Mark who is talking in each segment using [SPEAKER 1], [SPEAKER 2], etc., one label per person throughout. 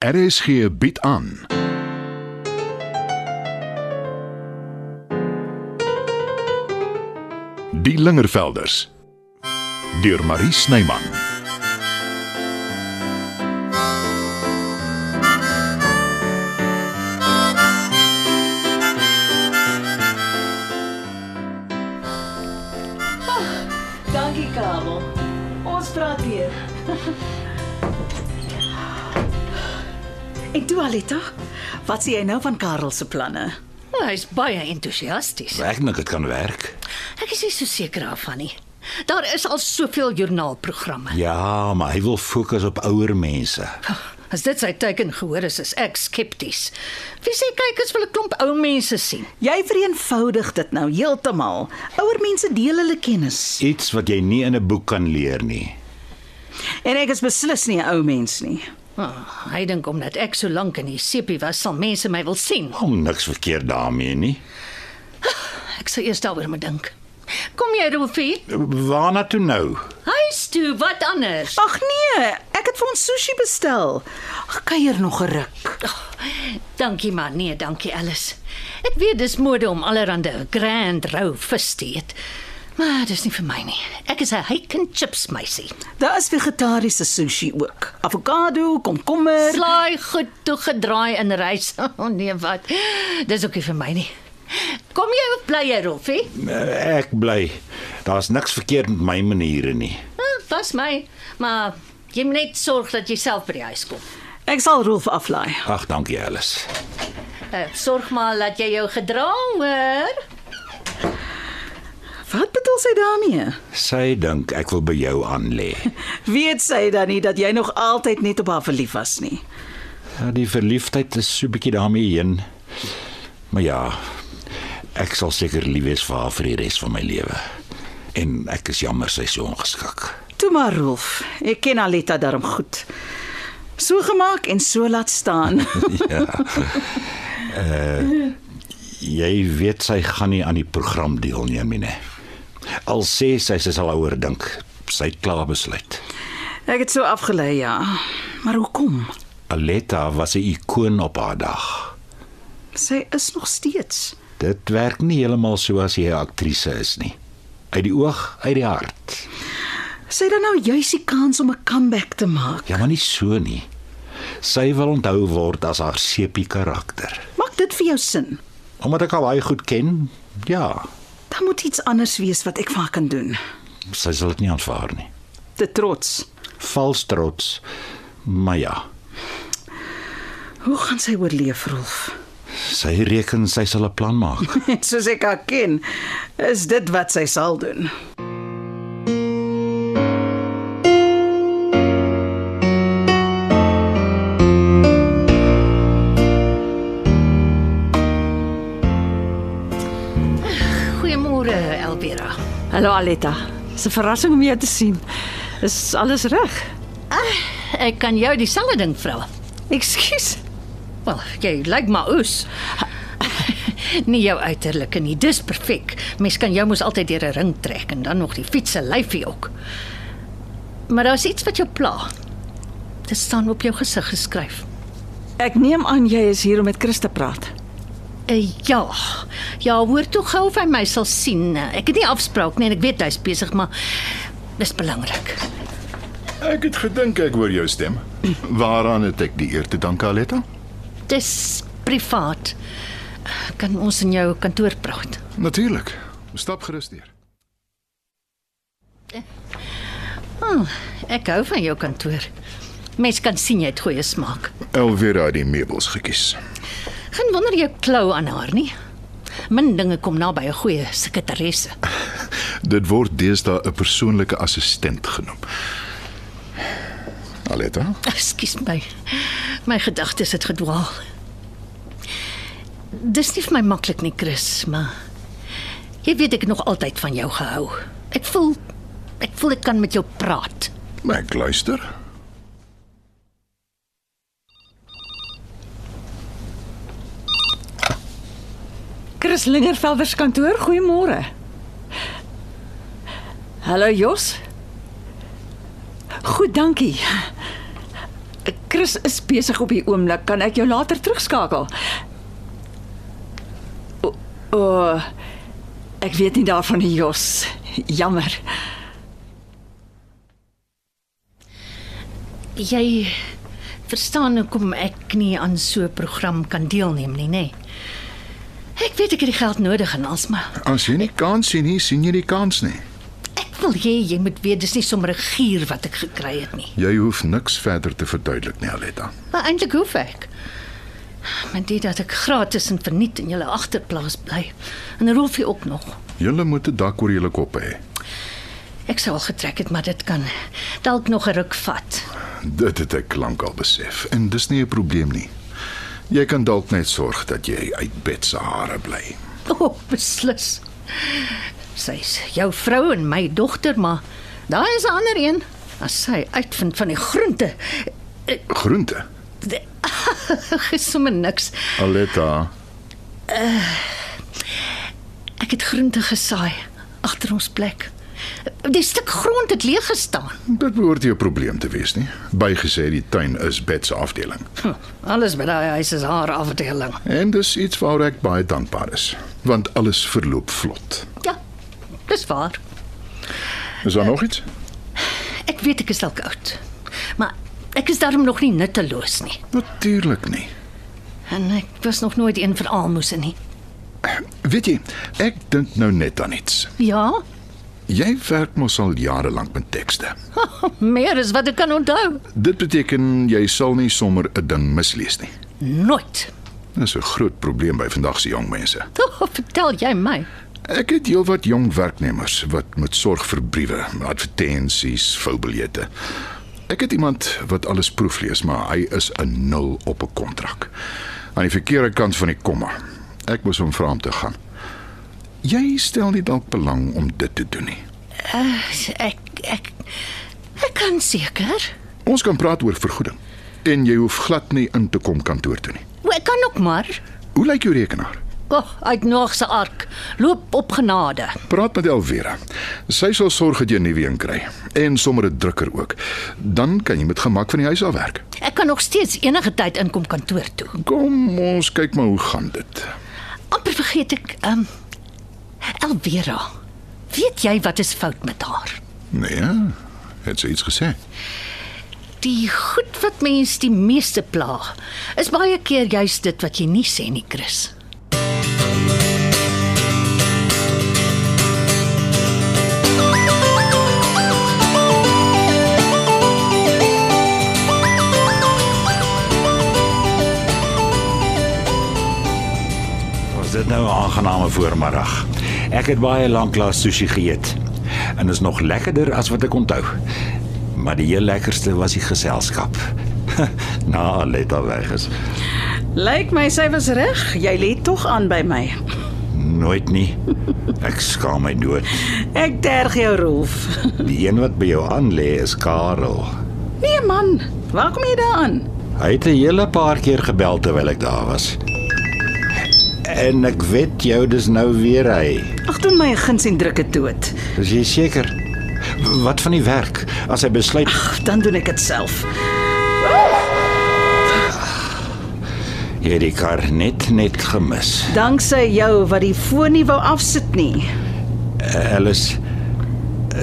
[SPEAKER 1] RSG bied aan. Die Lingervelders deur Marie Snyman.
[SPEAKER 2] Dankie Kabel. Ons praat weer. En toe Alita, wat sê jy nou van Karel se planne?
[SPEAKER 3] Well, Hy's baie entoesiasties.
[SPEAKER 4] Ek dink dit kan werk.
[SPEAKER 3] Ek is nie so seker daarvan nie. Daar is al soveel joernaalprogramme.
[SPEAKER 4] Ja, maar hy wil fokus op ouer mense.
[SPEAKER 3] As dit sy teken gehoor is, is ek skepties. Wie sê kykers wil 'n klomp ou mense sien?
[SPEAKER 2] Jy vereenvoudig dit nou heeltemal. Ouer mense deel hulle kennis
[SPEAKER 4] Iets wat jy nie in 'n boek kan leer nie.
[SPEAKER 2] en ek is beslis nie 'n ou mens nie.
[SPEAKER 3] Oh, hy dink omdat ek so lank in die sepie was, sal mense my wil sien.
[SPEAKER 4] Hom niks verkeerd daarmee nie.
[SPEAKER 3] Ek sal eers daaroor moet dink. Kom jy, Rufie?
[SPEAKER 4] Waarna toe nou?
[SPEAKER 3] Huis toe, wat anders?
[SPEAKER 2] Ag nee, ek het vir ons sushi bestel. Ag, Kuier nog 'n ruk.
[SPEAKER 3] Oh, dankie maar, nee, dankie Alice. Ek weet dis mode om allerhande grand rou vis te eet. Maar dis nie vir my nie. Ek is 'n hake and chips meisie.
[SPEAKER 2] Daar is vegetariese sushi ook. Avokado, komkommer.
[SPEAKER 3] Slaai goed toegedraai in rys. Oh nee, wat. Dis ook nie vir my nie. Kom jy op bly jy, Rolfie?
[SPEAKER 4] Eh, Ek bly. Daar's niks verkeerd met my maniere nie.
[SPEAKER 3] Ah, was my, maar jy moet net sorg dat jy self by die huis kom.
[SPEAKER 2] Ek sal Rolf aflaai.
[SPEAKER 4] Ag, dankie Alice.
[SPEAKER 3] Uh, sorg maar dat jy jou gedra hoor.
[SPEAKER 2] Wat bedoel sy daarmee?
[SPEAKER 4] Sy dink ek wil by jou aan lê.
[SPEAKER 2] Weet sy dan nie dat jy nog altyd net op haar verlief was nie?
[SPEAKER 4] Ja, die verliefdheid is so 'n bietjie daarmee heen. Maar ja, ek sal seker lief wees vir haar vir die res van my lewe. En ek is jammer sy is so ongeskik.
[SPEAKER 2] Toe maar Rolf, ek ken Aletta darm goed. So gemaak en so laat staan.
[SPEAKER 4] Jy weet sy gaan nie aan die program deelneem nie. né? Al sê sy sy sal ouer dink. Sy het klaar besluit.
[SPEAKER 2] ek het so afgelei ja. Maar hoekom?
[SPEAKER 4] Aletta was 'n ikoon op haar dag.
[SPEAKER 2] Sy is nog steeds.
[SPEAKER 4] Dit werk nie heeltemal so as jy 'n aktrise is nie. Uit die oog, uit die hart.
[SPEAKER 2] Sy het dan nou juis die kans om 'n comeback te maak.
[SPEAKER 4] Ja, maar nie so nie. Sy wil onthou word as haar sepie karakter.
[SPEAKER 2] Maak dit vir jou sin.
[SPEAKER 4] Omdat ek haar baie goed ken, ja,
[SPEAKER 2] Daar moet iets anders wees wat ek vir haar kan doen.
[SPEAKER 4] sy sal dit nie aanvaar nie.
[SPEAKER 2] Te trots.
[SPEAKER 4] Vals trots. Maar ja,
[SPEAKER 2] Hoe gaan sy oorleef, Rolf?
[SPEAKER 4] sy reken sy sal 'n plan maak.
[SPEAKER 2] En soos ek haar ken, is dit wat sy sal doen.
[SPEAKER 3] Goeiemôre, Elvira.
[SPEAKER 5] Hallo Aletta. Dis 'n verrassing om jou te sien. Is alles reg?
[SPEAKER 3] Ek kan jou dieselfde ding vra.
[SPEAKER 5] Ekskuus.
[SPEAKER 3] Wel, jy lyk maar oes. nie jou uiterlike nie, dis perfek. Mens kan jou mos altyd deur 'n ring trek en dan nog die fiets se lyfie ook. Maar daar's iets wat jou pla. Dit staan op jou gesig geskryf.
[SPEAKER 5] Ek neem aan jy is hier om met Chris te praat.
[SPEAKER 3] Uh, ja. Ja, hoor toe gou of hy my sal sien. Ek het nie afspraak nie en ek weet hy's besig, maar dis belangrik.
[SPEAKER 1] Ek het gedink ek hoor jou stem. Waaraan het ek die eer te danke, Aletta?
[SPEAKER 3] Dis privaat. Kan ons in jou kantoor praat?
[SPEAKER 1] Natuurlik. Stap gerus deur.
[SPEAKER 3] Oh, ek hou van jou kantoor. Mens kan sien jy het goeie smaak.
[SPEAKER 1] Elvira het die meubels gekies.
[SPEAKER 3] Geen wonder jy klou aan haar nie. Min dinge kom naby 'n goeie sekretaresse.
[SPEAKER 1] Dit word deesdae 'n persoonlike assistent genoem. Aletta?
[SPEAKER 3] Ekskuus my. My gedagtes het gedwaal. Dis nie vir my maklik nie, Chris, maar jy weet ek het nog altyd van jou gehou. Ek voel ek voel ek kan met jou praat.
[SPEAKER 1] Ek luister.
[SPEAKER 5] Chris Lingervelder se kantoor. Goeiemôre. Hallo Jos. Goed, dankie. Chris is besig op die oomblik. Kan ek jou later terugskakel? O, o, ek weet nie daarvan nie, Jos. Jammer.
[SPEAKER 3] Jy verstaan hoekom ek nie aan so 'n program kan deelneem nie, nê? Nee. Ek weet ek het die geld nodig en alsmaar.
[SPEAKER 1] As jy nie kans sien nie, sien jy nie kans nie.
[SPEAKER 3] Ek wil hê jy moet weet dis nie sommer 'n gier wat ek gekry het nie.
[SPEAKER 1] Jy hoef niks verder te verduidelik nie, Aletta.
[SPEAKER 3] Maar eintlik hoef ek. Maar dit dat ek gratis en verniet in julle agterplaas bly. En Rolfie ook nog.
[SPEAKER 1] Julle moet 'n dak oor julle kop hê.
[SPEAKER 3] Ek sou al getrek het, maar dit kan dalk nog 'n ruk vat.
[SPEAKER 1] Dit het ek lank al besef en dis nie 'n probleem nie. Jy kan dalk net sorg dat jy uit bed se hare bly.
[SPEAKER 3] O, oh, beslis. Sy's jou vrou en my dogter, maar daar is 'n ander een. As sy uitvind van die groente,
[SPEAKER 1] Groente.
[SPEAKER 3] is sommer niks.
[SPEAKER 1] Aletta,
[SPEAKER 3] Ek het groente gesaai agter ons plek. Die stuk grond het leeg gestaan.
[SPEAKER 1] dit behoort jou probleem te wees nie. Bygesê die tuin is bed se afdeling.
[SPEAKER 3] Hm, Alles by daai huis is haar afdeling.
[SPEAKER 1] En dis iets waaroor ek baie dankbaar is, want alles verloop vlot.
[SPEAKER 3] Ja. Dis waar.
[SPEAKER 1] Is daar nog iets?
[SPEAKER 3] Ek weet ek is dalk oud. Maar ek is daarom nog nie nutteloos nie.
[SPEAKER 1] Natuurlik nie.
[SPEAKER 3] En ek was nog nooit een vir almoses nie.
[SPEAKER 1] Weet jy, ek dink nou net aan iets.
[SPEAKER 3] Ja,
[SPEAKER 1] Jy werk mos al jare lank met tekste.
[SPEAKER 3] meer is wat ek kan onthou.
[SPEAKER 1] Dit beteken jy sal nie sommer 'n ding mislees nie.
[SPEAKER 3] Nooit.
[SPEAKER 1] Dis 'n groot probleem by vandag se jong mense.
[SPEAKER 3] Toe vertel jy my.
[SPEAKER 1] Ek het heelwat jong werknemers wat moet sorg vir briewe, advertensies, foubiljette. Ek het iemand wat alles proeflees, maar hy is 'n nul op 'n kontrak. Aan die verkeerde kant van die komma. Ek moes hom vra om te gaan. Jy stel nie dalk belang om dit te doen nie.
[SPEAKER 3] Ek ek ek kan seker.
[SPEAKER 1] Ons kan praat oor vergoeding en jy hoef glad nie in te kom kantoor toe nie.
[SPEAKER 3] O, Ek kan ook maar.
[SPEAKER 1] Hoe lyk jou rekenaar?
[SPEAKER 3] Ag, uit nog se ark. Loop op genade.
[SPEAKER 1] Praat met Elvira. Sy sal sorg dat jy 'n nuwe een kry en sommer 'n drukker ook. Dan kan jy met gemak van die huis af werk.
[SPEAKER 3] Ek kan nog steeds enige tyd inkom kantoor toe.
[SPEAKER 1] Kom ons kyk maar hoe gaan dit.
[SPEAKER 3] amper vergeet ek ehm um, Elvira. Weet jy wat is fout met haar?
[SPEAKER 1] Nee, ja, het sy iets gesê?
[SPEAKER 3] Die goed wat mense die meeste pla, is baie keer juis dit wat jy nie sê nie, Chris.
[SPEAKER 4] Was dit nou 'n aangename voormiddag. Ek het baie lank lank sushi geëet en is nog lekkerder as wat ek onthou. Maar die heel lekkerste was die geselskap. Na Aletta weg is.
[SPEAKER 2] Lyk my sy was reg. Jy lê tog aan by my.
[SPEAKER 4] Nooit nie. Ek skaam my dood.
[SPEAKER 2] Ek terg jou, Rolf.
[SPEAKER 4] Die een wat by jou aan lê is Karel.
[SPEAKER 2] Nee man, waar kom jy daaraan?
[SPEAKER 4] Hy het 'n hele paar keer gebel terwyl ek daar was. En ek weet jou dis nou weer hy.
[SPEAKER 2] Ag, doen my 'n guns en druk dit dood.
[SPEAKER 4] Is jy seker? Wat van die werk? As hy besluit
[SPEAKER 2] Ag, dan doen ek dit self.
[SPEAKER 4] jy het die kar net net gemis.
[SPEAKER 2] Danksy jou wat die foon nie wou afsit nie.
[SPEAKER 4] Alice,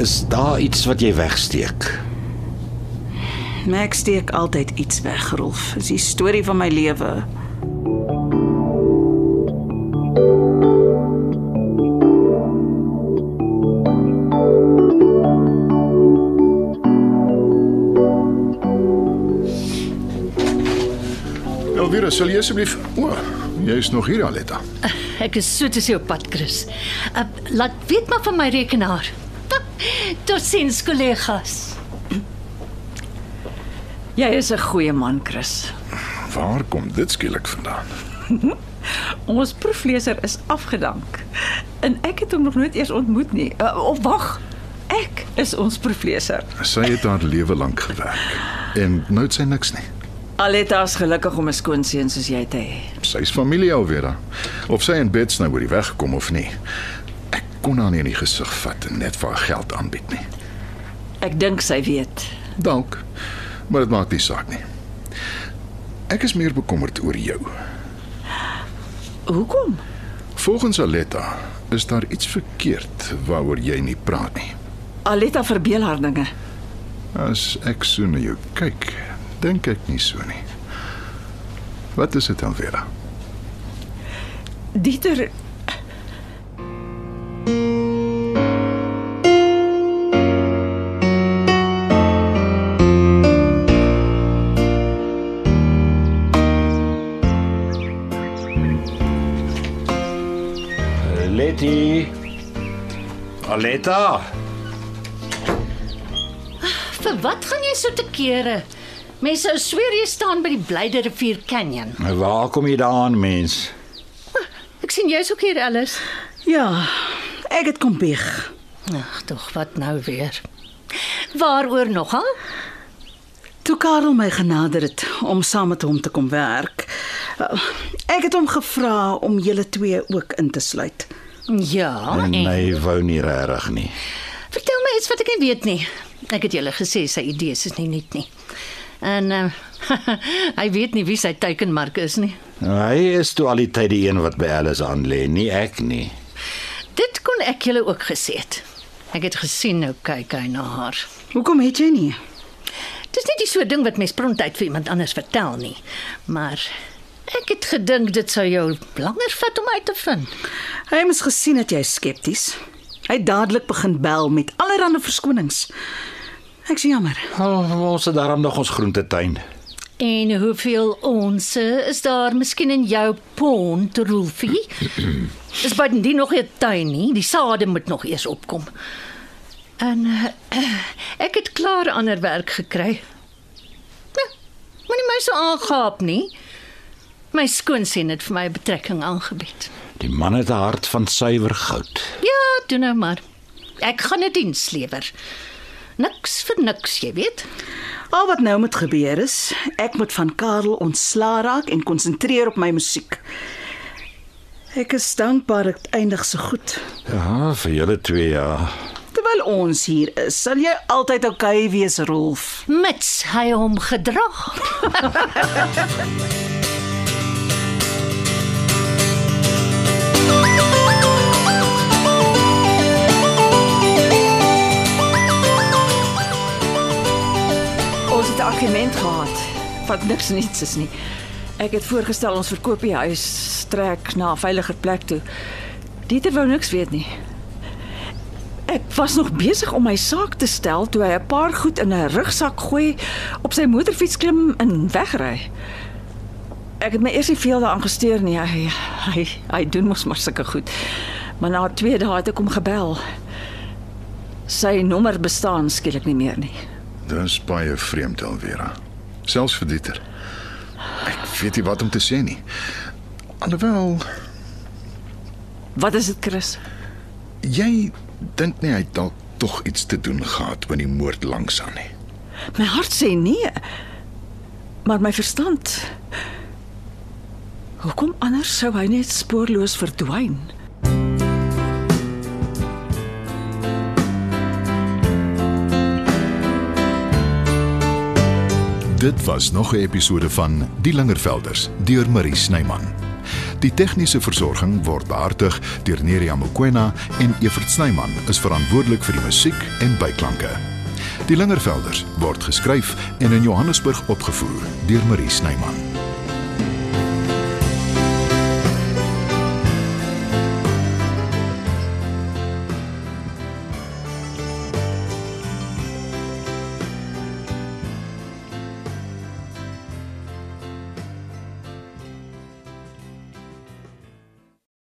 [SPEAKER 4] is daar iets wat jy wegsteek?
[SPEAKER 2] Maar ek steek altyd iets weg, Rolf. Dis die storie van my lewe.
[SPEAKER 1] Elvira, sal jy asseblief? O, jy's nog hier, Aletta.
[SPEAKER 3] Ek is soet as jou pad, Chris. Uh, laat weet maar van my rekenaar. Tot sins kollegas.
[SPEAKER 5] Jy is 'n goeie man, Chris.
[SPEAKER 1] Waar kom dit skielik vandaan?
[SPEAKER 5] Ons proefleser is afgedank. En ek het hom nog nooit eers ontmoet nie. Uh, of wag, ek is ons proefleser.
[SPEAKER 1] Sy het haar lewe lank gewerk en nou het sy niks nie.
[SPEAKER 5] Aletta is gelukkig om 'n skoonseun soos jy te hê.
[SPEAKER 1] Sy's familie Elvira. Of sy in beds nou oor die weg kom of nie. Ek kon haar nie in die gesig vat en net vir haar geld aanbied nie.
[SPEAKER 5] Ek dink sy weet.
[SPEAKER 1] Dank. Maar dit maak nie saak nie. Ek is meer bekommerd oor jou.
[SPEAKER 5] Hoekom?
[SPEAKER 1] Volgens Aletta is daar iets verkeerd waaroor jy nie praat nie.
[SPEAKER 5] Aletta verbeel haar dinge.
[SPEAKER 1] As ek so na jou kyk, dink ek nie so nie. Wat is dit dan, Vera?
[SPEAKER 5] Dieter
[SPEAKER 4] Letty. Aletta.
[SPEAKER 3] Vir wat gaan jy so te kere? Mense sou sweer jy staan by die Blyde Rivier Canyon.
[SPEAKER 4] Nou, Waar kom jy daaraan, mens?
[SPEAKER 3] Ek sien jy's ook hier, Alice.
[SPEAKER 2] Ja, ek het kom bieg.
[SPEAKER 3] Ag, tog, wat nou weer? Waaroor nogal?
[SPEAKER 2] Toe Karel my genader het om saam met hom te kom werk. eh, Ek het hom gevra om julle twee ook in te sluit.
[SPEAKER 3] Ja, en
[SPEAKER 4] Nee, wou nie regtig nie.
[SPEAKER 3] vertel my iets wat ek nie weet nie. Ek het julle gesê sy idees is nie nuut nie. En uh, hy weet nie wie sy teikenmark is nie.
[SPEAKER 4] Nou, Hy is toe al die tyd die een wat by Alice aan lê, nie ek nie.
[SPEAKER 3] Dit kon ek julle ook gesê het. Ek het gesien nou kyk hy na haar.
[SPEAKER 2] Hoekom het jy nie?
[SPEAKER 3] Dis nie die soort ding wat mens prontyd vir iemand anders vertel nie. Maar ek het gedink dit sou jou langer vat om uit te vind.
[SPEAKER 2] Hy het mos gesien dat jy skepties. Hy het dadelik begin bel met allerlei verskonings. Ek sê jammer.
[SPEAKER 4] Al Oh, ons het daarom nog ons groentetuin.
[SPEAKER 3] En hoeveel onse is daar miskien in jou pond, Rolfie? Dis bydendien nog 'n tuin nie, die sade moet nog eers opkom. En uh, ek het klaar ander werk gekry. Nou, moenie my so aangaap nie. My skoonseun het vir my 'n betrekking aangebied.
[SPEAKER 4] Die man het 'n hart van suiwer goud.
[SPEAKER 3] Ja, doen nou maar. Ek gaan 'n diens lewer. Niks vir niks, jy weet.
[SPEAKER 2] Al wat nou moet gebeur is, ek moet van Karel ontslaa raak en konsentreer op my musiek. Ek is dankbaar ek eindig so goed.
[SPEAKER 4] Ja, vir julle twee ja.
[SPEAKER 2] Terwyl ons hier is, sal jy altyd oukei okay wees, Rolf.
[SPEAKER 3] Mits hy hom gedra.
[SPEAKER 5] Ons het 'n argument gehad wat niks niets is nie. Ek het voorgestel ons verkoop die huis, trek na 'n veiliger plek toe. Dieter wou niks weet nie. Ek was nog besig om my saak te stel toe hy 'n paar goed in 'n rugsak gooi, op sy motorfiets klim en wegry. Ek het my eers nie veel daaraan gesteer nie. Hy hy hy doen mos maar sulke goed. Maar na 2 dae het ek hom gebel. Sy nommer bestaan skielik nie meer nie.
[SPEAKER 1] Dis baie vreemd al, Vera. Selfs vir Dieter. Ek weet nie wat om te sê nie. Alhoewel
[SPEAKER 5] Wat is dit, Chris?
[SPEAKER 1] jy dink nie hy het dalk tog iets te doen gehad met die moord langs aan nie.
[SPEAKER 5] My hart sê nee. Maar my verstand. Hoekom anders sou hy net spoorloos verdwyn?
[SPEAKER 6] Dit was nog 'n episode van Die Lingervelders deur Marie Snyman. Die tegniese versorging word behartig deur Neriya Mkwena en Evert Snyman is verantwoordelik vir die musiek en byklanke. Die Lingervelders word geskryf en in Johannesburg opgevoer deur Marie Snyman.